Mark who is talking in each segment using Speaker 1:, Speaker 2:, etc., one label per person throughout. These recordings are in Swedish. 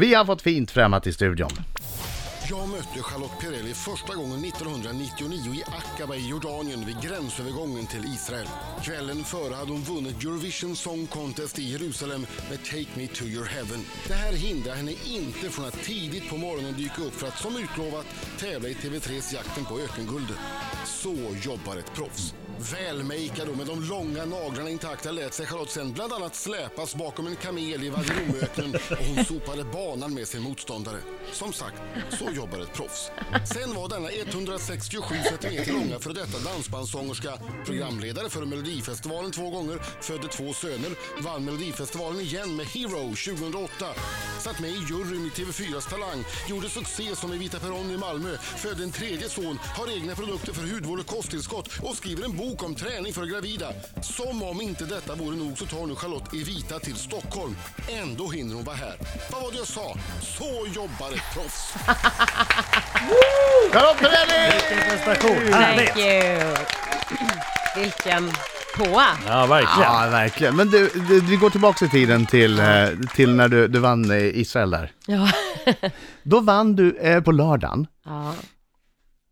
Speaker 1: Vi har fått fint främmat i studion.
Speaker 2: Jag mötte Charlotte Perrelli första gången 1999 i Aqaba i Jordanien vid gränsövergången till Israel. Kvällen före hade hon vunnit Eurovision Song Contest i Jerusalem med Take Me To Your Heaven. Det här hindrar henne inte från att tidigt på morgonen dyka upp för att som utlovat tävla i TV3s Jakten på ökenguldet. Så jobbar ett proffs. Välmakead och med de långa naglarna intakta lät sig Charlotte sen bland annat släpas bakom en kamel i Vadilomöknen och hon sopade banan med sin motståndare. Som sagt, så jobbar ett proffs. Sen var denna 167 cm långa före detta dansbandssångerska programledare för Melodifestivalen två gånger, födde två söner, vann Melodifestivalen igen med Hero 2008, satt med i juryn i TV4s Talang, gjorde succé som i Vita Perron i Malmö, födde en tredje son, har egna produkter för hudvård och kosttillskott och skriver en bok om träning för gravida. Som om inte detta vore nog så tar nu Charlotte Evita till Stockholm. Ändå hinner hon vara här. Vad var det jag sa? Så jobbar ett proffs.
Speaker 1: Charlotte Perrelli!
Speaker 3: Thank you. Vilken påa.
Speaker 4: Ja, verkligen.
Speaker 1: Ja, verkligen. Men du, du, vi går tillbaka i tiden till, eh, till när du, du vann eh, Israel där.
Speaker 3: Ja.
Speaker 1: Då vann du eh, på lördagen
Speaker 3: ja.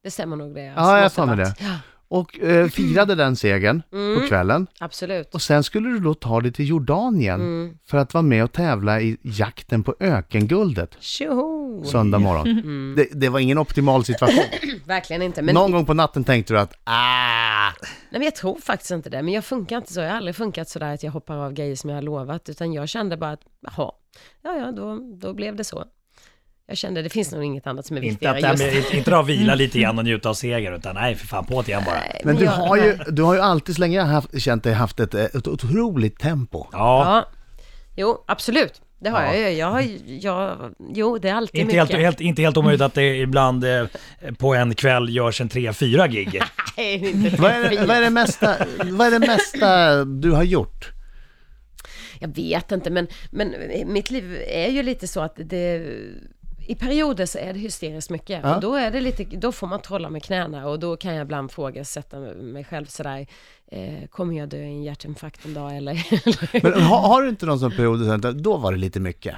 Speaker 3: Det stämmer nog det.
Speaker 1: Ja, jag tar med
Speaker 3: måste varit.
Speaker 1: och eh, firade den segern på kvällen.
Speaker 3: Ja, absolut.
Speaker 1: Och sen skulle du då ta dig till Jordanien för att vara med och tävla i jakten på ökenguldet
Speaker 3: Tjoho!
Speaker 1: söndag morgon. Det, det var ingen optimal situation.
Speaker 3: Verkligen inte. Men,
Speaker 1: Någon gång på natten tänkte du att ah,
Speaker 3: nej, men jag tror faktiskt inte det. Men jag funkar inte så. Jag har aldrig funkat sådär att jag hoppar av grejer som jag har lovat. Utan jag kände bara att, jaha, ja, ja, då, då blev det så. Jag kände, det finns nog inget annat som är
Speaker 4: Inte
Speaker 3: viktigare
Speaker 4: att det här
Speaker 3: just
Speaker 4: med, inte dra och vila lite grann och njuta av seger, utan nej för fan, på det igen bara.
Speaker 1: Men du
Speaker 3: jag-
Speaker 1: har, ju, du har ju alltid, så länge jag har haft, känt dig, haft ett, eh, ett otroligt tempo.
Speaker 4: Ja,
Speaker 3: Ja. Jo, absolut. Det har jag ju. Jag har ju- jag, jo, det är alltid
Speaker 4: inte,
Speaker 3: mycket.
Speaker 4: helt, helt, inte helt omöjligt att det ibland eh, på en kväll görs en tre, fyra gig.
Speaker 3: Nej, det är inte
Speaker 1: Vad är, det- vad, är det mesta, vad är det mesta du har gjort?
Speaker 3: Jag vet inte, men, men mitt liv är ju lite så att det... I perioder så är det hysteriskt mycket.
Speaker 1: Ja.
Speaker 3: Och då, är det lite, då får man trolla med knäna och då kan jag ibland ifrågasätta mig själv sådär. Eh, kommer jag dö i en hjärtinfarkt en dag eller?
Speaker 1: Men har, har du inte någon sån period där du tänkte, då var det lite mycket?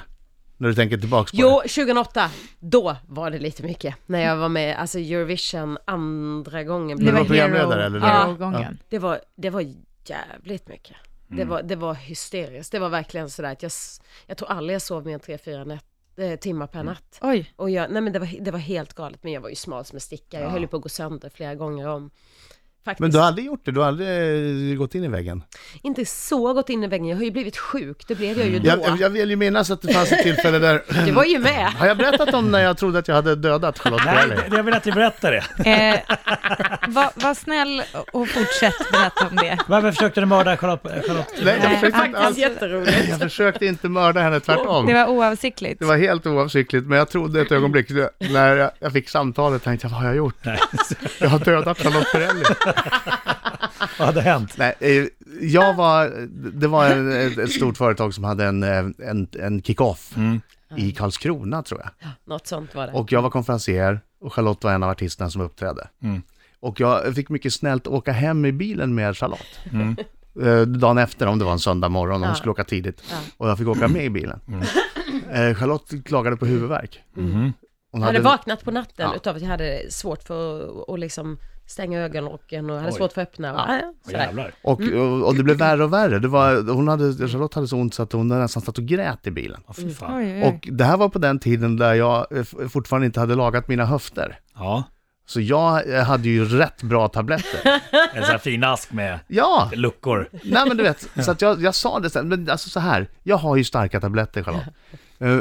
Speaker 1: När du tänker tillbaks på
Speaker 3: jo, 2008, då var det lite mycket. När jag var med, alltså Eurovision andra gången.
Speaker 1: Det
Speaker 3: blev
Speaker 1: var
Speaker 3: jag-
Speaker 1: programledare, eller?
Speaker 5: Hero-gången.
Speaker 3: Det var, det var jävligt mycket. Det,
Speaker 1: Mm.
Speaker 3: var, det var hysteriskt. Det var verkligen sådär att jag, s- jag tror aldrig jag sov mer än tre, fyra nät, eh, timmar
Speaker 1: Mm.
Speaker 3: per natt.
Speaker 5: Oj,
Speaker 3: Och jag, nej men det var, det var helt galet, men jag var ju smal som en sticka. Jag höll ju på att gå sönder flera gånger om. Faktiskt.
Speaker 1: det? Men du har aldrig gjort det? Du har aldrig eh, gått in i väggen?
Speaker 3: Inte så gått in i väggen, jag har ju blivit sjuk. Det blev jag ju då.
Speaker 1: Mm. Jag, jag, jag vill ju minnas att det fanns ett tillfälle där...
Speaker 3: Du var ju med.
Speaker 1: Har jag berättat om när jag trodde att jag hade dödat Charlotte
Speaker 4: Nej,
Speaker 1: Perrelli?
Speaker 4: det- jag vill att du berättar det.
Speaker 5: eh, var, var snäll och fortsätt berätta om det.
Speaker 4: Varför försökte du mörda Charlotte? Charlotte?
Speaker 1: Nej, jag
Speaker 5: Nej,
Speaker 1: försökte inte alls.
Speaker 5: faktiskt.
Speaker 3: Jätteroligt.
Speaker 1: Jag försökte inte mörda henne, tvärtom.
Speaker 5: Det var oavsiktligt.
Speaker 1: Det var helt oavsiktligt, men jag trodde ett ögonblick när jag- jag fick samtalet, tänkte jag, vad har jag gjort?
Speaker 4: Nej.
Speaker 1: Jag har dödat Charlotte Perrelli.
Speaker 4: Vad hade hänt?
Speaker 1: Nej, eh, jag var, det var en, ett- ett stort företag som hade en, eh, en, en kick-off i Karlskrona tror jag.
Speaker 3: Något sånt var det.
Speaker 1: Och jag var konferencier och Charlotte var en av artisterna som uppträdde. Och jag fick mycket snällt åka hem i bilen med Charlotte. Eh, Dagen efter, om det var en söndag morgon, och hon skulle åka tidigt. Och jag fick åka med i bilen. Eh, Charlotte klagade på huvudvärk. Hon
Speaker 3: Jag hade
Speaker 1: hade-
Speaker 3: vaknat på natten
Speaker 1: Ja.
Speaker 3: utav att jag hade svårt för att och liksom stänga ögonlocken och hade
Speaker 4: Oj.
Speaker 3: svårt för att öppna. Och, ja.
Speaker 4: Åh,
Speaker 3: sådär.
Speaker 4: jävlar.
Speaker 1: Och, och, och det blev värre och värre. Det var, hon hade, Charlotte hade så ont så att hon nästan satt och grät i bilen.
Speaker 4: Åh, fy fan.
Speaker 5: Oj, oj, oj.
Speaker 1: Och det här var på den tiden där jag eh, f- fortfarande inte hade lagat mina höfter.
Speaker 4: Ja,
Speaker 1: Så jag eh, hade ju rätt bra tabletter.
Speaker 4: en sån här fin ask med
Speaker 1: Ja,
Speaker 4: luckor.
Speaker 1: nej men du vet. Så att jag, jag sa det sen, men alltså så här, jag har ju starka tabletter Charlotte. Eh,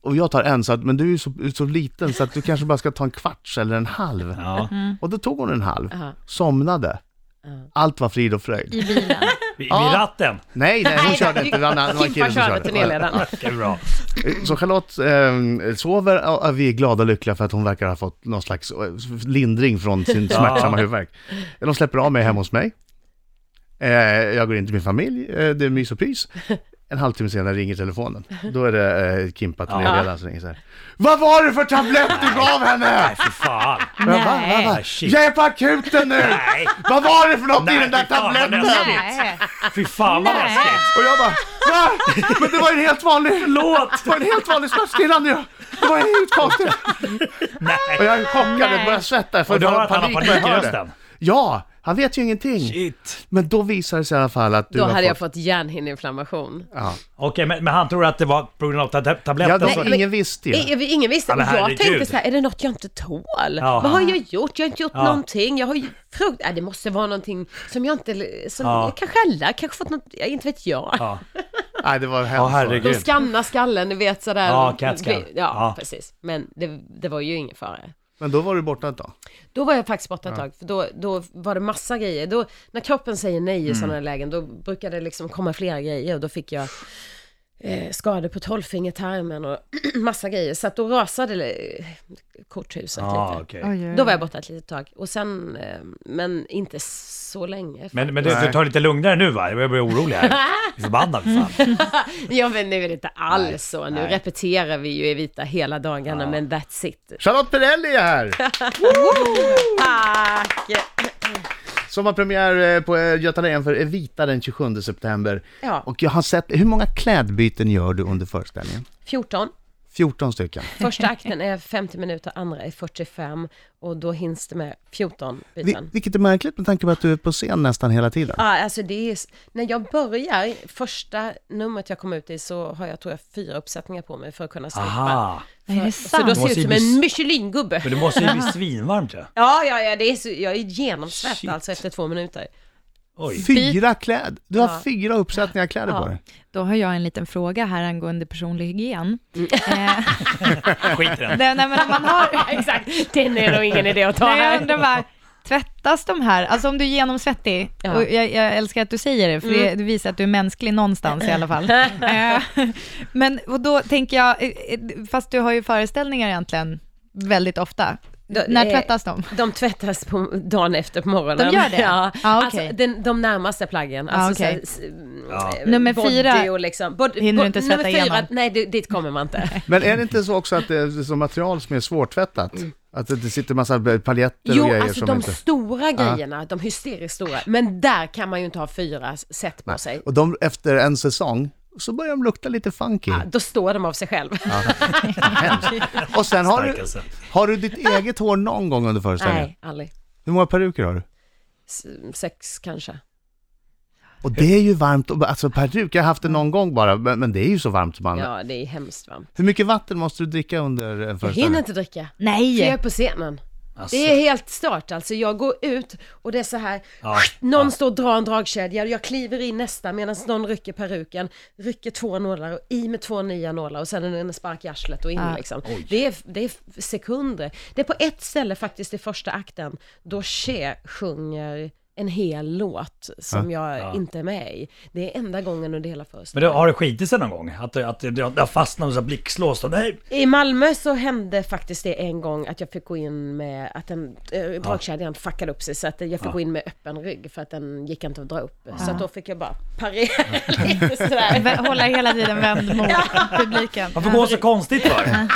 Speaker 1: Och jag tar en, så att, men du är ju så, så liten så att du kanske bara ska ta en kvarts eller en halv.
Speaker 4: Ja,
Speaker 1: Och då tog hon en halv,
Speaker 3: Aha.
Speaker 1: somnade.
Speaker 3: Ja.
Speaker 1: Allt var frid och fröjd.
Speaker 5: I bilen.
Speaker 4: vid, vid
Speaker 1: Ja.
Speaker 4: ratten.
Speaker 1: Nej, nej, hon körde inte. Det var en annan- det var en kille
Speaker 3: Kimpa
Speaker 1: som
Speaker 3: körde
Speaker 1: körde.
Speaker 3: turnéledaren.
Speaker 4: Det är bra.
Speaker 1: Så Charlotte eh, sover och vi är glada och lyckliga för att hon verkar ha fått någon slags eh, lindring från sin smärtsamma huvudvärk. De släpper av mig hemma hos mig. Eh, jag går in till min familj, eh, det är eh, mys och pys. En halvtimme senare ringer telefonen. Då är det eh, Kimpa turnéledaren som ringer så här. Vad var det för tablett du gav henne?
Speaker 4: Nej, för fan.
Speaker 1: Men jag bara,
Speaker 5: Nej.
Speaker 1: "Va, va?
Speaker 4: Nej, shit.
Speaker 1: Jag är på akuten nu!
Speaker 4: Nej.
Speaker 1: Vad var det för något i den där
Speaker 4: fy fan, vad
Speaker 1: tabletten?
Speaker 4: läskigt.
Speaker 5: Nej.
Speaker 4: Fy fan vad
Speaker 5: Nej.
Speaker 4: läskigt.
Speaker 1: Och jag bara, va? Men det var ju en helt vanlig
Speaker 4: Låt!
Speaker 1: Det var en helt vanlig smärtstillande ju. Det var helt konstigt. Och jag är chockad, jag börjar svettas. för
Speaker 4: Och du
Speaker 1: jag
Speaker 4: hör
Speaker 1: har
Speaker 4: att han har
Speaker 1: när jag
Speaker 4: panik i
Speaker 1: hör det.
Speaker 4: rösten?
Speaker 1: Ja, han vet ju ingenting.
Speaker 4: Shit.
Speaker 1: Men då visar det sig i alla fall att du
Speaker 3: Då
Speaker 1: har
Speaker 3: hade jag
Speaker 1: fått...
Speaker 3: fått hjärnhinneinflammation.
Speaker 1: Ja.
Speaker 4: Okej, men, men han tror att det var på grund av tab-
Speaker 1: Ja,
Speaker 4: tabletten?
Speaker 1: då,
Speaker 4: så-
Speaker 3: men-
Speaker 1: ingen visste ju.
Speaker 3: I- vi- Ingen visste.
Speaker 4: Ja, men
Speaker 3: jag
Speaker 4: herregud.
Speaker 3: tänkte så här, är det något jag inte tål?
Speaker 4: Ja.
Speaker 3: Vad har jag gjort? Jag har inte gjort
Speaker 4: Ja.
Speaker 3: någonting. Jag har ju frukt... Äh, det måste vara någonting som jag inte... Som
Speaker 4: Ja.
Speaker 3: jag kanske alla, kanske fått något... Jag inte vet jag.
Speaker 4: Ja.
Speaker 1: Nej, det var hemskt.
Speaker 4: Ja, herregud.
Speaker 3: De skannar skallen, ni vet sådär.
Speaker 4: Ja, CAT scan.
Speaker 3: Ja,
Speaker 4: Ja.
Speaker 3: precis. Men det, det var ju ingen fara.
Speaker 1: Men då var du borta ett tag.
Speaker 3: Då var jag faktiskt borta ett tag, för då, då var det massa grejer. Då, när kroppen säger nej i
Speaker 4: Mm.
Speaker 3: sådana här lägen, då brukar det liksom komma flera grejer och då fick jag eh, skador på tolvfingertarmen och massa grejer. Så att då rasade eh, korthuset
Speaker 4: Ja,
Speaker 3: lite.
Speaker 4: Ah, okej.
Speaker 5: Oj, oj,
Speaker 3: Då var
Speaker 5: oj.
Speaker 3: jag borta ett litet tag, och sen, eh, men inte så länge.
Speaker 4: Men, men du,
Speaker 1: Nej.
Speaker 4: du tar det lite lugnare nu va? Jag börjar bli orolig här. Jag är förbannad för fan.
Speaker 3: Ja men nu är det inte alls så, nu repeterar vi ju i vita hela dagarna, men that's it.
Speaker 1: Charlotte Perrelli är här!
Speaker 3: Tack!
Speaker 1: Som har premiär eh, på eh, Göta Lejonför Evita den 27 september.
Speaker 3: Ja.
Speaker 1: Och jag har sett, hur många klädbyten gör du under föreställningen?
Speaker 3: 14.
Speaker 1: 14 stycken.
Speaker 3: Första akten är 50 minuter, andra är 45 och då hinns det med 14
Speaker 1: Vi,
Speaker 3: byten.
Speaker 1: vilket är märkligt med tanke på att du är på scen nästan hela tiden.
Speaker 3: Ja, alltså det är, s- när jag börjar, första numret jag kom ut i så har jag tror jag fyra uppsättningar på mig för att kunna strippa.
Speaker 4: Aha.
Speaker 5: Är det
Speaker 3: Så då
Speaker 5: sant?
Speaker 3: ser jag
Speaker 4: måste
Speaker 3: ut
Speaker 4: ju
Speaker 3: som
Speaker 4: bli
Speaker 3: en
Speaker 4: s-
Speaker 3: Michelin-gubbe.
Speaker 4: Men det måste ju bli svinvarmt ju.
Speaker 3: Ja, ja, ja, det är så, jag är genomsvett
Speaker 4: Shit.
Speaker 3: alltså efter två minuter.
Speaker 4: Oj.
Speaker 1: Fyra kläd. Du har fyra uppsättningar kläder på
Speaker 3: Ja.
Speaker 1: dig.
Speaker 5: Då har jag en liten fråga här angående personlig hygien. Eh,
Speaker 4: Skit i den.
Speaker 5: nej, nej, men om man har...
Speaker 3: Exakt, den är nog ingen idé att ta
Speaker 5: Nej, jag
Speaker 3: här.
Speaker 5: undrar bara, tvättas de här? Alltså om du är genomsvettig,
Speaker 3: Ja. Mm.
Speaker 5: och jag, jag älskar att du säger det, för det, det visar att du är mänsklig någonstans i alla fall. Eh, Men och då tänker jag, eh, eh, fast du har ju föreställningar egentligen väldigt ofta.
Speaker 3: Då-
Speaker 5: När
Speaker 3: eh,
Speaker 5: tvättas de?
Speaker 3: De tvättas på dagen efter på morgonen.
Speaker 5: De gör det?
Speaker 3: Ja.
Speaker 5: Ah,
Speaker 3: alltså,
Speaker 5: okej.
Speaker 3: den, de närmaste plaggen.
Speaker 5: Ah,
Speaker 3: Alltså,
Speaker 5: okej.
Speaker 3: så, eh,
Speaker 4: Ja.
Speaker 5: Nummer
Speaker 3: Body
Speaker 5: fyra
Speaker 3: och liksom, bod,
Speaker 5: hinner du inte svettas
Speaker 3: nummer fyra,
Speaker 5: igenom.
Speaker 3: Nej, det, dit kommer man inte.
Speaker 1: Men är det inte så också att det är så material som är svårtvättat? Att det det sitter massa paljetter och
Speaker 3: Mm. jo,
Speaker 1: grejer
Speaker 3: alltså
Speaker 1: som
Speaker 3: de
Speaker 1: inte...
Speaker 3: stora grejerna, de hysteriskt stora, men där kan man ju inte ha fyra set på sig.
Speaker 1: Och de, efter en säsong så börjar de lukta lite funky.
Speaker 3: Ja, Då står de av sig själv.
Speaker 1: Hemskt. Och sen har du,
Speaker 4: Starkaste.
Speaker 1: har du ditt eget hår någon gång under föreställningen?
Speaker 3: Nej, aldrig.
Speaker 1: Hur många peruker har du?
Speaker 3: S- Sex kanske.
Speaker 1: Och det är ju varmt, och- alltså peruk, jag har haft det någon gång bara, men, men det är ju så varmt som man.
Speaker 3: Ja, det är hemskt varmt.
Speaker 1: Hur mycket vatten måste du dricka under en
Speaker 3: Jag hinner
Speaker 1: föreställning?
Speaker 3: inte dricka. För jag är
Speaker 5: Nej!
Speaker 3: på scenen.
Speaker 4: Alltså.
Speaker 3: Det är helt stört alltså. Jag går ut och det är så här,
Speaker 4: Ja,
Speaker 3: någon
Speaker 4: ja.
Speaker 3: står och drar en dragkedja och jag kliver in nästa medan någon rycker peruken, rycker två nålar och i med två nya nålar och sen är det en spark i arslet och in
Speaker 5: Ja.
Speaker 3: liksom. Det är, det är sekunder. Det är på ett ställe faktiskt i första akten då Che sjunger en hel låt som jag
Speaker 4: Ja.
Speaker 3: inte är med i. Det är enda gången under hela
Speaker 4: Men du,
Speaker 3: föreställningen.
Speaker 4: har det skitit sig någon gång? Att, du- att det har fastnat och så här blixtlåst och nej.
Speaker 3: I Malmö så hände faktiskt det en gång att jag fick gå in med att den eh, dragkedjan fuckade upp sig så att jag fick gå in med öppen rygg för att den gick inte att dra upp. Så att då fick jag bara parera lite sådär.
Speaker 5: Vä- Hålla hela tiden vänd mot publiken.
Speaker 4: Varför går det så konstigt för?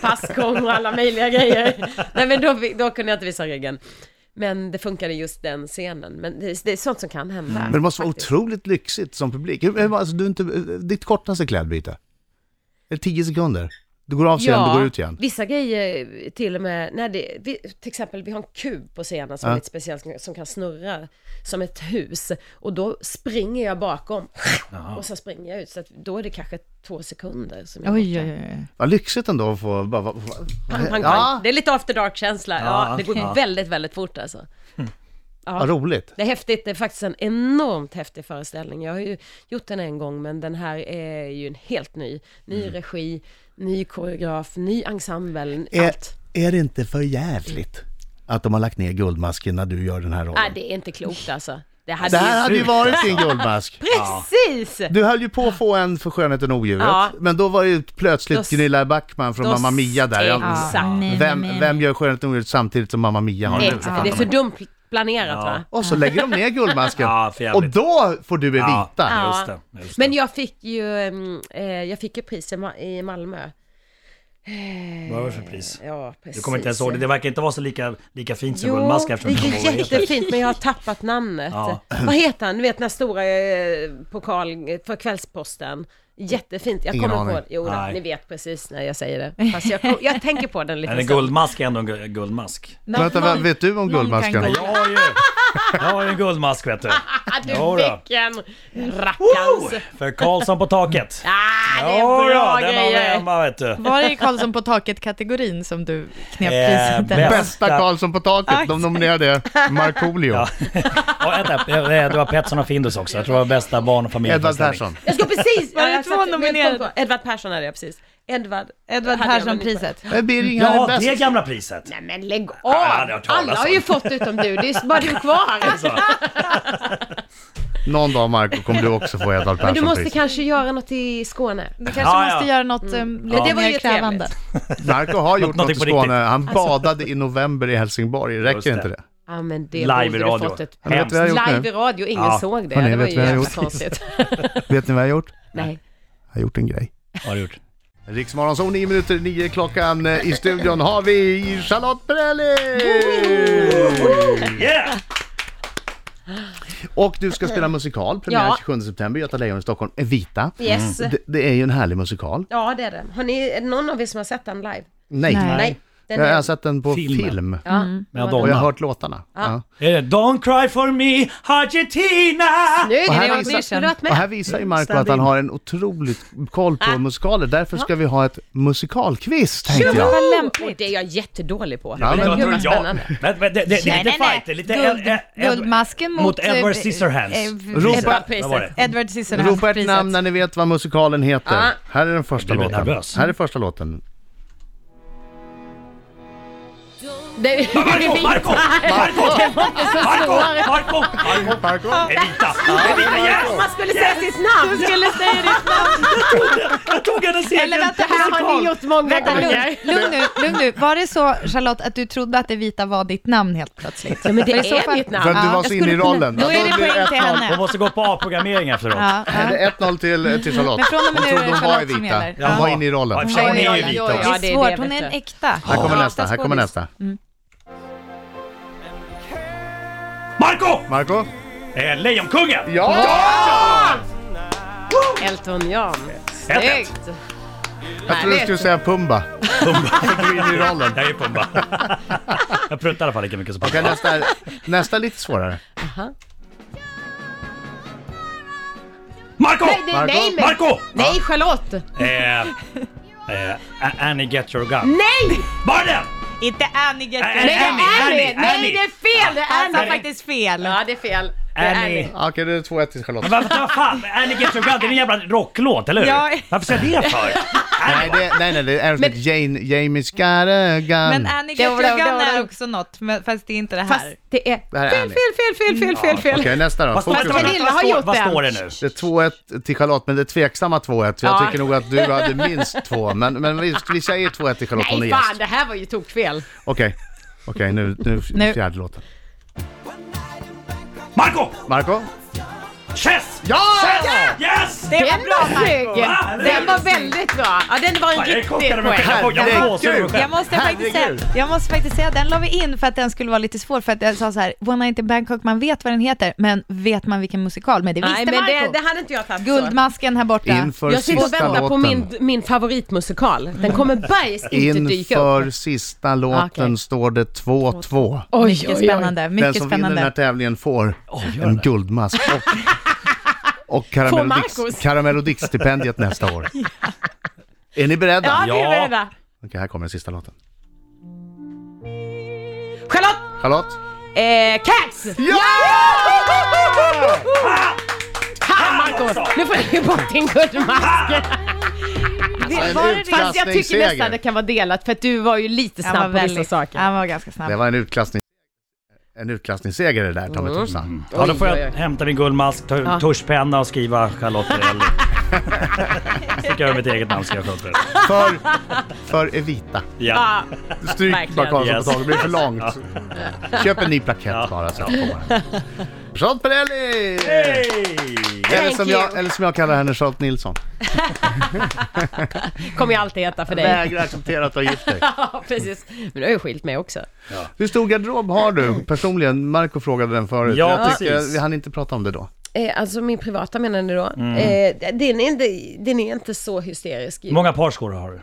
Speaker 3: Passgång och alla möjliga grejer. Nej men då, fick- då kunde jag inte visa ryggen. Men det funkade just den scenen. Men det, det är sånt som kan hända.
Speaker 1: Men det måste vara
Speaker 3: faktiskt.
Speaker 1: otroligt lyxigt som publik. Hur- hur- Alltså, du är inte, ditt kortaste klädbyte? Är det tio sekunder? Du går av scenen, du går ut igen.
Speaker 3: vissa grejer till och med, när det, vi, till exempel vi har en kub på scenen som
Speaker 1: Ja.
Speaker 3: är lite speciell, som- som kan snurra som ett hus. Och då springer jag bakom och så springer jag ut. Så att då är det kanske två sekunder som jag
Speaker 5: Oj, oj, oj.
Speaker 1: Vad lyxigt ändå att få... Bara, bara, bara,
Speaker 3: Pang, pang,
Speaker 1: ja,
Speaker 3: pang. Det är lite after dark-känsla. Ja,
Speaker 4: Ja,
Speaker 3: det går
Speaker 4: ja.
Speaker 3: väldigt, väldigt fort alltså.
Speaker 1: Hm. vad roligt.
Speaker 3: Det är häftigt, det är faktiskt en enormt häftig föreställning. Jag har ju gjort den en gång, men den här är ju en helt ny. Ny
Speaker 1: Mm.
Speaker 3: regi, ny koreograf, ny ensemble,
Speaker 1: Är,
Speaker 3: allt.
Speaker 1: är det inte för jävligt att de har lagt ner guldmasken när du gör den här rollen?
Speaker 3: Nej, Ah, det är inte klokt alltså. Det hade
Speaker 1: det här hade ju
Speaker 4: sjukt,
Speaker 1: varit din guldmask.
Speaker 3: Precis!
Speaker 1: Du höll ju på att få en för skönheten och odjuret,
Speaker 3: Ja.
Speaker 1: men då var ju
Speaker 3: Då
Speaker 1: plötsligt
Speaker 3: s-
Speaker 1: Gunilla Backman från
Speaker 3: då
Speaker 1: Mamma Mia där.
Speaker 3: s-
Speaker 1: Ja,
Speaker 3: exakt.
Speaker 5: Nej,
Speaker 1: Vem,
Speaker 5: nej, nej.
Speaker 1: vem gör skönheten och odjuret samtidigt som Mamma Mia har nu?
Speaker 3: Exakt, det är så dumt planerat
Speaker 4: Ja.
Speaker 3: va?
Speaker 1: Och så lägger de ner guldmasken.
Speaker 4: Ja, för
Speaker 1: och
Speaker 4: jävligt.
Speaker 1: då får du bevita.
Speaker 4: Ja,
Speaker 3: Ja.
Speaker 4: just det. Just det.
Speaker 3: Men jag fick ju, mm, eh, jag fick ju pris i Ma- i Malmö. Eh,
Speaker 4: Vad var det för pris?
Speaker 3: Ja, precis.
Speaker 4: Du kommer inte ens ihåg det. Det verkar inte vara så lika, lika fint som
Speaker 3: Jo,
Speaker 4: guldmask
Speaker 3: det
Speaker 4: eftersom du kommer
Speaker 3: är
Speaker 4: ihåg vad det heter.
Speaker 3: jättefint men jag har tappat namnet.
Speaker 4: Ja.
Speaker 3: Vad heter han? Du vet den här stora eh, pokal för Kvällsposten. Jättefint, jag
Speaker 1: Ingen
Speaker 3: kommer
Speaker 1: aning.
Speaker 3: på Jo, då,
Speaker 4: Nej.
Speaker 3: ni vet precis när jag säger det. Fast jag, kom- jag tänker på den lite
Speaker 4: Men en guldmask är ändå en gu- guldmask.
Speaker 5: Nå-
Speaker 1: Vänta, vad
Speaker 5: någon-
Speaker 1: vet du om
Speaker 5: någon kan
Speaker 1: guldmasken?
Speaker 5: gå-
Speaker 4: Jag har ju, jag har ju en guldmask vet du.
Speaker 3: Ah, du
Speaker 4: Jo då.
Speaker 3: vilken rackarns!
Speaker 4: Oh, för Karlsson på taket.
Speaker 3: Ah, det är
Speaker 4: Jo,
Speaker 3: bra
Speaker 4: ja, den har vi
Speaker 3: grejer!
Speaker 4: hemma vet du.
Speaker 5: Var det Karlsson på taket-kategorin som du knep
Speaker 4: Eh,
Speaker 5: priset?
Speaker 4: bäst.
Speaker 5: eller?
Speaker 1: Bästa Karlsson på taket, de nominerade Markoolio,
Speaker 4: Ja. Och vänta, eh, det var Pettersson och Findus också. Jag tror det var bästa barn och familj.
Speaker 1: Edvard Persson.
Speaker 3: Jag ska precis...
Speaker 5: Var det
Speaker 3: ja, jag
Speaker 5: två
Speaker 3: satte- men
Speaker 5: nominerade?
Speaker 3: kom på- Edvard Persson hade jag precis. Edvard,
Speaker 5: Edvard
Speaker 3: hade jag, men inte-
Speaker 5: Persson-priset.
Speaker 1: Det blir ingen
Speaker 4: Ja,
Speaker 1: ja,
Speaker 4: det gamla priset.
Speaker 3: Nej men lägg av!
Speaker 4: jag hade hört talas
Speaker 3: Alla har ju
Speaker 4: om.
Speaker 3: fått utom du, det är bara du kvar.
Speaker 4: Så.
Speaker 1: Någon dag Marco kommer du också få Edvard
Speaker 3: Men du måste
Speaker 1: Persson-pris.
Speaker 3: kanske göra något i Skåne.
Speaker 5: Du kanske
Speaker 4: Ja, ja.
Speaker 5: måste göra något um, lite
Speaker 3: Det var ju
Speaker 5: mer krävande.
Speaker 3: trevligt.
Speaker 1: Marco har gjort något
Speaker 4: Någonting
Speaker 1: i
Speaker 4: på
Speaker 1: Skåne.
Speaker 4: riktigt.
Speaker 1: Han
Speaker 3: Alltså.
Speaker 1: badade i november i Helsingborg.
Speaker 4: Just
Speaker 1: Räcker
Speaker 4: det.
Speaker 1: inte det?
Speaker 3: Ja men det
Speaker 4: Live i
Speaker 3: borde
Speaker 4: radio.
Speaker 3: du fått ett
Speaker 1: Ja, men vet du vad jag har gjort
Speaker 3: Live
Speaker 1: nu?
Speaker 3: i radio, ingen
Speaker 4: Ja.
Speaker 3: såg det.
Speaker 1: Hörni,
Speaker 3: det var
Speaker 1: vet
Speaker 3: ju
Speaker 1: vad jag har
Speaker 3: jävla
Speaker 1: gjort?
Speaker 3: konstigt.
Speaker 1: Vet ni vad jag har gjort?
Speaker 3: Nej.
Speaker 1: Jag har gjort en grej.
Speaker 4: Vad har du gjort?
Speaker 1: Riksmorgon så 9 minuter i 9 klockan. eh, I studion har vi Charlotte Perrelli!
Speaker 4: Yeah!
Speaker 1: Och du ska spela musikal, premiär
Speaker 3: Ja.
Speaker 1: 27 september, Göta Lejon i Stockholm, Eh, Vita.
Speaker 3: Mm. Yes.
Speaker 1: Det, det är ju en härlig musikal.
Speaker 3: Ja det är det. Har ni, är det någon av er som har sett den live?
Speaker 1: Nej, alltså-
Speaker 5: Nej.
Speaker 3: Nej. Den
Speaker 1: jag
Speaker 3: är...
Speaker 1: har sett den på
Speaker 4: Filmen.
Speaker 1: film.
Speaker 3: Ja.
Speaker 4: Med
Speaker 1: Och jag har
Speaker 4: Adonna.
Speaker 1: hört låtarna. Ja.
Speaker 4: Är det Don't cry for me, Argentina!
Speaker 3: Nu är
Speaker 1: Och här
Speaker 3: det, det
Speaker 1: visar-
Speaker 3: åtminstone du har varit
Speaker 1: Och
Speaker 3: med.
Speaker 1: här visar ju Marco att han har en otroligt koll
Speaker 5: Ah.
Speaker 1: på musikaler. Därför ska vi ha ett musikalquiz, tänkte jag.
Speaker 5: Vad
Speaker 3: Och
Speaker 5: lämpligt.
Speaker 3: det är jag jättedålig på.
Speaker 1: Ja,
Speaker 3: men,
Speaker 1: men-
Speaker 3: gud vad
Speaker 4: Ja,
Speaker 3: spännande.
Speaker 4: men- men det- det- det är
Speaker 5: Nej,
Speaker 4: lite
Speaker 5: nej, nej.
Speaker 4: fight, det är lite
Speaker 5: Guld-
Speaker 4: Ed- Ed-
Speaker 5: Guldmasken mot...
Speaker 4: mot Edward
Speaker 5: eh,
Speaker 4: Scissorhands.
Speaker 5: eh,
Speaker 1: Ropa-
Speaker 4: Vad var det?
Speaker 5: Edward Scissorhands-priset.
Speaker 1: Ropa ett namn när ni vet vad musikalen heter.
Speaker 5: Ah.
Speaker 3: Ja.
Speaker 1: Här är den första
Speaker 4: Jag blir
Speaker 1: låten.
Speaker 4: nervös.
Speaker 1: Här är första låten.
Speaker 3: Det,
Speaker 4: Marco, Marco, Marco, Marco, Marco, Marco,
Speaker 1: Marco?
Speaker 4: Evita, Evita, yes!
Speaker 3: man skulle säga sitt namn! Du skulle säga ditt namn!
Speaker 4: Jag tog hennes egen
Speaker 5: Eller vänta, här
Speaker 3: Det har ni gjort många
Speaker 5: Vänta, lugn,
Speaker 3: gånger.
Speaker 5: lugn nu, lugn nu. Var det så Charlotte att du trodde att det vita var ditt namn helt plötsligt?
Speaker 3: Ja men det
Speaker 5: Var i så
Speaker 3: är
Speaker 5: fall-
Speaker 3: mitt
Speaker 1: För
Speaker 3: namn.
Speaker 1: att du
Speaker 5: Ja,
Speaker 1: var
Speaker 5: jag
Speaker 1: så inne i
Speaker 5: skulle
Speaker 1: rollen.
Speaker 5: Då är det
Speaker 1: blir
Speaker 5: poäng till
Speaker 1: 1-0.
Speaker 4: Hon
Speaker 5: henne.
Speaker 4: måste gå på A-programmering efteråt.
Speaker 5: Ja, ja.
Speaker 1: Det är 1-0 till, till Charlotte.
Speaker 5: Men från och med
Speaker 1: Hon
Speaker 5: nu är
Speaker 1: trodde
Speaker 5: det
Speaker 1: hon var i
Speaker 5: Charlotte som
Speaker 1: vita.
Speaker 5: gäller.
Speaker 1: Hon var
Speaker 4: Ja.
Speaker 1: inne i rollen.
Speaker 4: Ja, i och för sig, hon är ju
Speaker 5: Oj, oj,
Speaker 4: vit
Speaker 5: oj,
Speaker 4: också.
Speaker 3: Ja,
Speaker 5: Det
Speaker 3: det är
Speaker 5: är
Speaker 3: det,
Speaker 5: svårt, hon
Speaker 3: vet
Speaker 5: är en
Speaker 3: du.
Speaker 5: äkta.
Speaker 1: Här kommer nästa, här kommer nästa.
Speaker 4: Marco!
Speaker 1: Marco?
Speaker 4: Eh, Lejonkungen!
Speaker 1: Ja!
Speaker 3: Elton John.
Speaker 4: Ett, ett.
Speaker 3: Snyggt!
Speaker 1: Jag trodde du skulle säga Pumba. Pumba. Du är inne i rollen.
Speaker 4: Jag är Pumba. Jag pruttar i alla fall lika mycket som
Speaker 1: Okej,
Speaker 4: Pumba.
Speaker 1: nästa, är- nästa är lite svårare.
Speaker 4: Marco!
Speaker 3: Nej, nej, nej, men-
Speaker 4: Marco!
Speaker 3: Nej Charlotte!
Speaker 4: Eh, eh, A- Annie Get Your Gun.
Speaker 3: Nej!
Speaker 4: Var det den?
Speaker 5: Inte Annie Get
Speaker 4: Nej, det
Speaker 3: Nej,
Speaker 4: är Annie,
Speaker 3: det är
Speaker 4: Annie,
Speaker 3: det! Nej,
Speaker 4: Annie.
Speaker 3: det är fel! Det är
Speaker 5: Han sa
Speaker 3: Annie!
Speaker 5: faktiskt fel.
Speaker 3: Ja, det är fel. Det är
Speaker 4: Annie.
Speaker 1: Okej, det är 2-1 till Charlotte.
Speaker 4: Men varför, vad fan, Annie Get Your Gun, det är en jävla rocklåt, eller hur?
Speaker 5: Ja.
Speaker 4: Varför säger jag det för?
Speaker 1: Nej, det, nej, nej, det är Aerosmith. Jane, Jamie's got a gun.
Speaker 5: Men Annie Get
Speaker 3: Det var- det
Speaker 5: Your
Speaker 3: var-
Speaker 5: Gun
Speaker 3: det var-
Speaker 5: är också något, men, fast det är inte det
Speaker 3: Fast
Speaker 5: här.
Speaker 3: det är
Speaker 1: Det här är
Speaker 3: fel,
Speaker 1: Annie.
Speaker 3: fel, fel, fel, fel, fel,
Speaker 1: Okej,
Speaker 3: fel.
Speaker 1: nästa då.
Speaker 4: Vad-
Speaker 1: Fokus.
Speaker 4: vänta, vänta,
Speaker 3: Pernilla
Speaker 4: vad
Speaker 3: har
Speaker 4: står-
Speaker 3: gjort
Speaker 4: Vad
Speaker 3: den.
Speaker 4: står det nu?
Speaker 1: Det är 2-1 till Charlotte, men det är tveksamma 2-1. Jag
Speaker 3: Ja.
Speaker 1: tycker nog att du hade minst två, men, men vi, vi säger 2-1 till Charlotte, hon är
Speaker 3: Nej,
Speaker 1: gäst.
Speaker 3: fan, det här var ju tokfel.
Speaker 1: Okej, okej, nu, nu,
Speaker 5: Nu.
Speaker 1: fjärde låten.
Speaker 4: Marco!
Speaker 1: Marco?
Speaker 4: Chess!
Speaker 1: Ja!
Speaker 4: Chess! Yes!
Speaker 5: Det var
Speaker 3: Den
Speaker 5: bra
Speaker 3: var
Speaker 5: Marco.
Speaker 3: snygg! Den var väldigt bra. Ja, den var en
Speaker 4: Fan, jag är
Speaker 3: riktig
Speaker 4: chockad över mig
Speaker 3: poäng.
Speaker 4: själv. Jag får- jag får gåshud över mig
Speaker 5: Jag
Speaker 4: själv.
Speaker 5: måste, faktiskt säga,
Speaker 1: Herregud.
Speaker 5: jag måste faktiskt säga att den la vi in för att den skulle vara lite svår, för att jag sa så här, One Night in Bangkok, man vet vad den heter, men vet man vilken musikal? Men det visste
Speaker 3: Nej, men det,
Speaker 5: Marco.
Speaker 3: det hade inte jag tagit så.
Speaker 5: Guldmasken här borta.
Speaker 1: Inför
Speaker 3: Jag sitter och
Speaker 1: sista
Speaker 3: väntar
Speaker 1: låten.
Speaker 3: på min, min favoritmusikal. Den kommer bergs inte dyka upp.
Speaker 1: Inför sista låten
Speaker 3: Okej.
Speaker 1: står det 2-2.
Speaker 5: Mycket spännande,
Speaker 1: Den
Speaker 5: mycket
Speaker 1: som vinner
Speaker 5: spännande.
Speaker 1: den här tävlingen får en guldmask och, och
Speaker 3: Får
Speaker 1: Karamell och
Speaker 3: Marcus?
Speaker 1: Dix- Karamell och Dix-stipendiet nästa år. Är ni beredda?
Speaker 3: Ja, vi är
Speaker 4: Ja.
Speaker 3: beredda.
Speaker 1: Okej, här kommer den sista låten.
Speaker 3: Charlotte!
Speaker 1: Charlotte?
Speaker 3: Eh, Cats!
Speaker 1: Ja!
Speaker 3: Ha, Marcos! Nu får du ge bort din guldmask.
Speaker 1: en
Speaker 5: var det det?
Speaker 3: Fast jag tycker
Speaker 1: utklassningsseger.
Speaker 3: nästan det kan vara delat för att du var ju lite
Speaker 5: Han var
Speaker 3: snabb på vissa
Speaker 5: väldigt-
Speaker 3: saker.
Speaker 5: Han var ganska snabb.
Speaker 1: Det var en utklassning. En utklassningsseger
Speaker 4: Mm.
Speaker 1: det där, ta mig tusan.
Speaker 4: Ja, då får
Speaker 3: Oj, oj,
Speaker 4: jag
Speaker 3: oj.
Speaker 4: hämta min guldmask, ta, tuschpenna och skriva Charlotte Perrelli. Sticka över mitt eget namn så jag sköter det.
Speaker 1: För, för Evita.
Speaker 4: Ja.
Speaker 1: Stryk
Speaker 3: Verkligen.
Speaker 1: bara Karlsson
Speaker 4: Yes.
Speaker 1: på taget, det blir för långt. Köp en ny plakett
Speaker 4: Ja.
Speaker 1: bara så kommer den. Charlotte Perrelli! Eller
Speaker 3: Thank
Speaker 1: som, jag,
Speaker 3: you.
Speaker 1: eller som jag kallar henne, Charlotte Nilsson.
Speaker 3: Kommer jag alltid heta för dig.
Speaker 1: Vägrar acceptera att du har gift dig.
Speaker 3: Ja, precis. Men du har ju skilt mig också.
Speaker 1: Hur stor garderob har du personligen? Marco frågade den förut.
Speaker 4: Ja,
Speaker 1: jag tycker,
Speaker 4: precis.
Speaker 1: vi hann inte prata om det då.
Speaker 3: Eh, alltså min privata menar ni då?
Speaker 1: Mm.
Speaker 3: Eh, den, är inte, den är inte så hysterisk.
Speaker 4: Hur många parskor har du?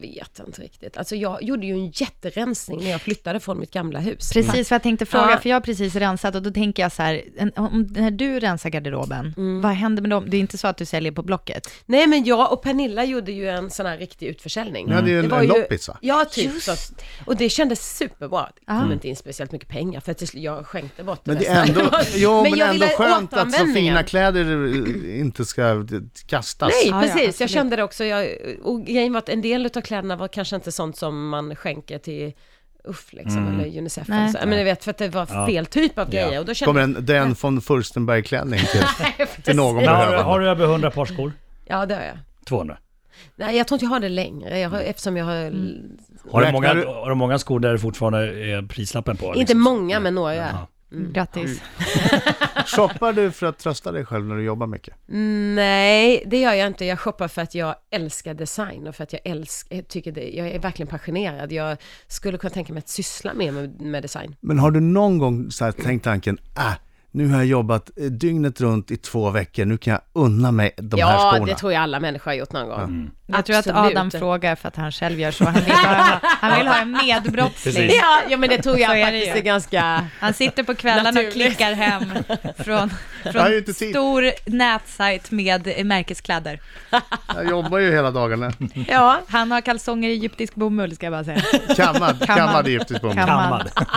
Speaker 3: Jag vet inte riktigt. Alltså jag gjorde ju en jätterensning när jag flyttade från mitt gamla hus.
Speaker 5: Precis vad jag tänkte fråga,
Speaker 3: Ja.
Speaker 5: för jag har precis rensat och då tänker jag så här, en, om, när du rensar garderoben,
Speaker 3: Mm.
Speaker 5: vad händer med dem? Det är inte så att du säljer på Blocket?
Speaker 3: Nej men jag och Pernilla gjorde ju en sån här riktig utförsäljning.
Speaker 1: Ni hade ju en-
Speaker 3: var
Speaker 1: en loppis, va?
Speaker 3: Ja, typ. Så, att- och det kändes superbra. Det kom inte in speciellt mycket pengar för att till slut- jag skänkte bort
Speaker 1: Men det
Speaker 3: resten.
Speaker 1: är ändå, jo,
Speaker 3: Men
Speaker 1: men
Speaker 3: jag
Speaker 1: ändå
Speaker 3: ville
Speaker 1: skönt att så
Speaker 3: återanvändningen.
Speaker 1: fina kläder eh, inte ska eh, kastas.
Speaker 3: Nej,
Speaker 5: Ja, ja,
Speaker 3: precis. jag
Speaker 5: absolut.
Speaker 3: kände det också. Jag, och grejen var att en del av kläderna var kanske inte sånt som man skänker till UFF liksom,
Speaker 1: Mm.
Speaker 3: eller Unicef.
Speaker 5: Nej.
Speaker 3: Eller så. Men du vet, för att det var fel typ av grejer. Och då kände
Speaker 1: Kommer en den från Furstenberg-klänning till, till någon
Speaker 4: Har du, har
Speaker 1: behövande.
Speaker 4: du över 100 parskor?
Speaker 3: Ja, det har jag.
Speaker 4: 200.
Speaker 3: Nej, jag tror inte jag har det längre, jag har,
Speaker 1: Mm.
Speaker 3: eftersom jag har...
Speaker 5: Mm.
Speaker 3: l-
Speaker 4: Har du,
Speaker 1: Räknar
Speaker 4: många,
Speaker 1: du-
Speaker 4: har du många skor där det fortfarande är prislappen på?
Speaker 3: Inte
Speaker 4: liksom?
Speaker 3: många, men några.
Speaker 4: Jaha.
Speaker 3: Mm.
Speaker 5: Grattis.
Speaker 1: Shoppar du för att trösta dig själv när du jobbar mycket?
Speaker 3: Nej, det gör jag inte. Jag shoppar för att jag älskar design och för att jag älskar, jag tycker det, jag är verkligen passionerad. Jag skulle kunna tänka mig att syssla mer med, med design.
Speaker 1: Men har du någon gång så här tänkt tanken, äh, nu har jag jobbat eh, dygnet runt i två veckor, nu kan jag unna mig de här
Speaker 3: ja,
Speaker 1: skorna. Mm.
Speaker 3: det tror jag alla människor har gjort någon gång.
Speaker 5: Jag tror att
Speaker 3: Absolut.
Speaker 5: Adam frågar för att han själv gör så. Han vill ha, han vill ha en medbrottsling.
Speaker 4: Precis.
Speaker 3: Ja, ja, men det tror jag
Speaker 5: Så är det
Speaker 3: faktiskt är
Speaker 5: ju.
Speaker 3: ganska...
Speaker 5: Han sitter på kvällarna och
Speaker 3: Naturligt.
Speaker 5: klickar hem från,
Speaker 1: har ju
Speaker 5: från
Speaker 1: inte tid.
Speaker 5: stor nätsajt med eh, märkeskläder.
Speaker 1: Jag jobbar ju hela dagarna.
Speaker 3: Ja,
Speaker 5: Han har kalsonger i egyptisk bomull, ska jag bara säga.
Speaker 1: Kammad, kammad egyptisk bomull.
Speaker 5: Kammad.
Speaker 4: Kammad.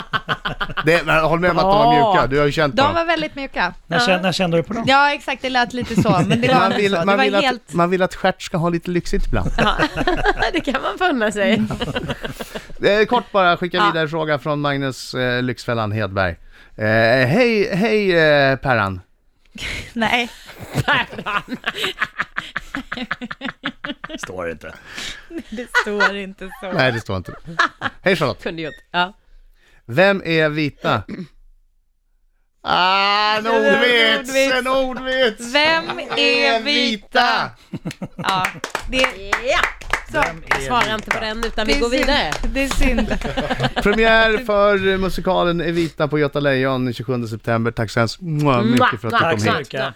Speaker 1: Det- men Håll med om att de var
Speaker 3: Bra.
Speaker 1: mjuka, du har ju känt på
Speaker 5: De
Speaker 1: dem.
Speaker 5: var väldigt mjuka.
Speaker 4: När, kände, när kände du på dem?
Speaker 5: Ja, exakt, det lät lite så, men det var
Speaker 1: Man
Speaker 5: inte
Speaker 1: vill,
Speaker 5: så. alltså.
Speaker 1: man,
Speaker 5: Det var
Speaker 1: vill
Speaker 5: helt...
Speaker 1: att, man vill att stjärt ska ha lite lyxigt ibland.
Speaker 3: det kan man funna sig.
Speaker 5: Mm.
Speaker 1: Eh, kort bara, skicka vidare fråga från Magnus eh, Lyxfällan Hedberg. Eh, hej, hej eh, Perran.
Speaker 5: Nej,
Speaker 4: Står det inte.
Speaker 5: det står inte så.
Speaker 1: Nej, det står inte. Hej Charlotte.
Speaker 3: Kunde gjort. Ja.
Speaker 1: Vem är vita? Ah, en ordvits! En ordvits!
Speaker 5: Vem är vita? Ja, det,
Speaker 3: Svara inte på den utan
Speaker 5: det
Speaker 3: vi
Speaker 5: är
Speaker 3: går
Speaker 5: synd.
Speaker 3: vidare.
Speaker 5: Det är synd.
Speaker 1: Premiär för eh, musikalen Evita på Göta Lejon den 27 september. Tack så hemskt mycket för att du
Speaker 3: Tack
Speaker 1: kom
Speaker 4: Tack så
Speaker 1: hit.
Speaker 4: mycket.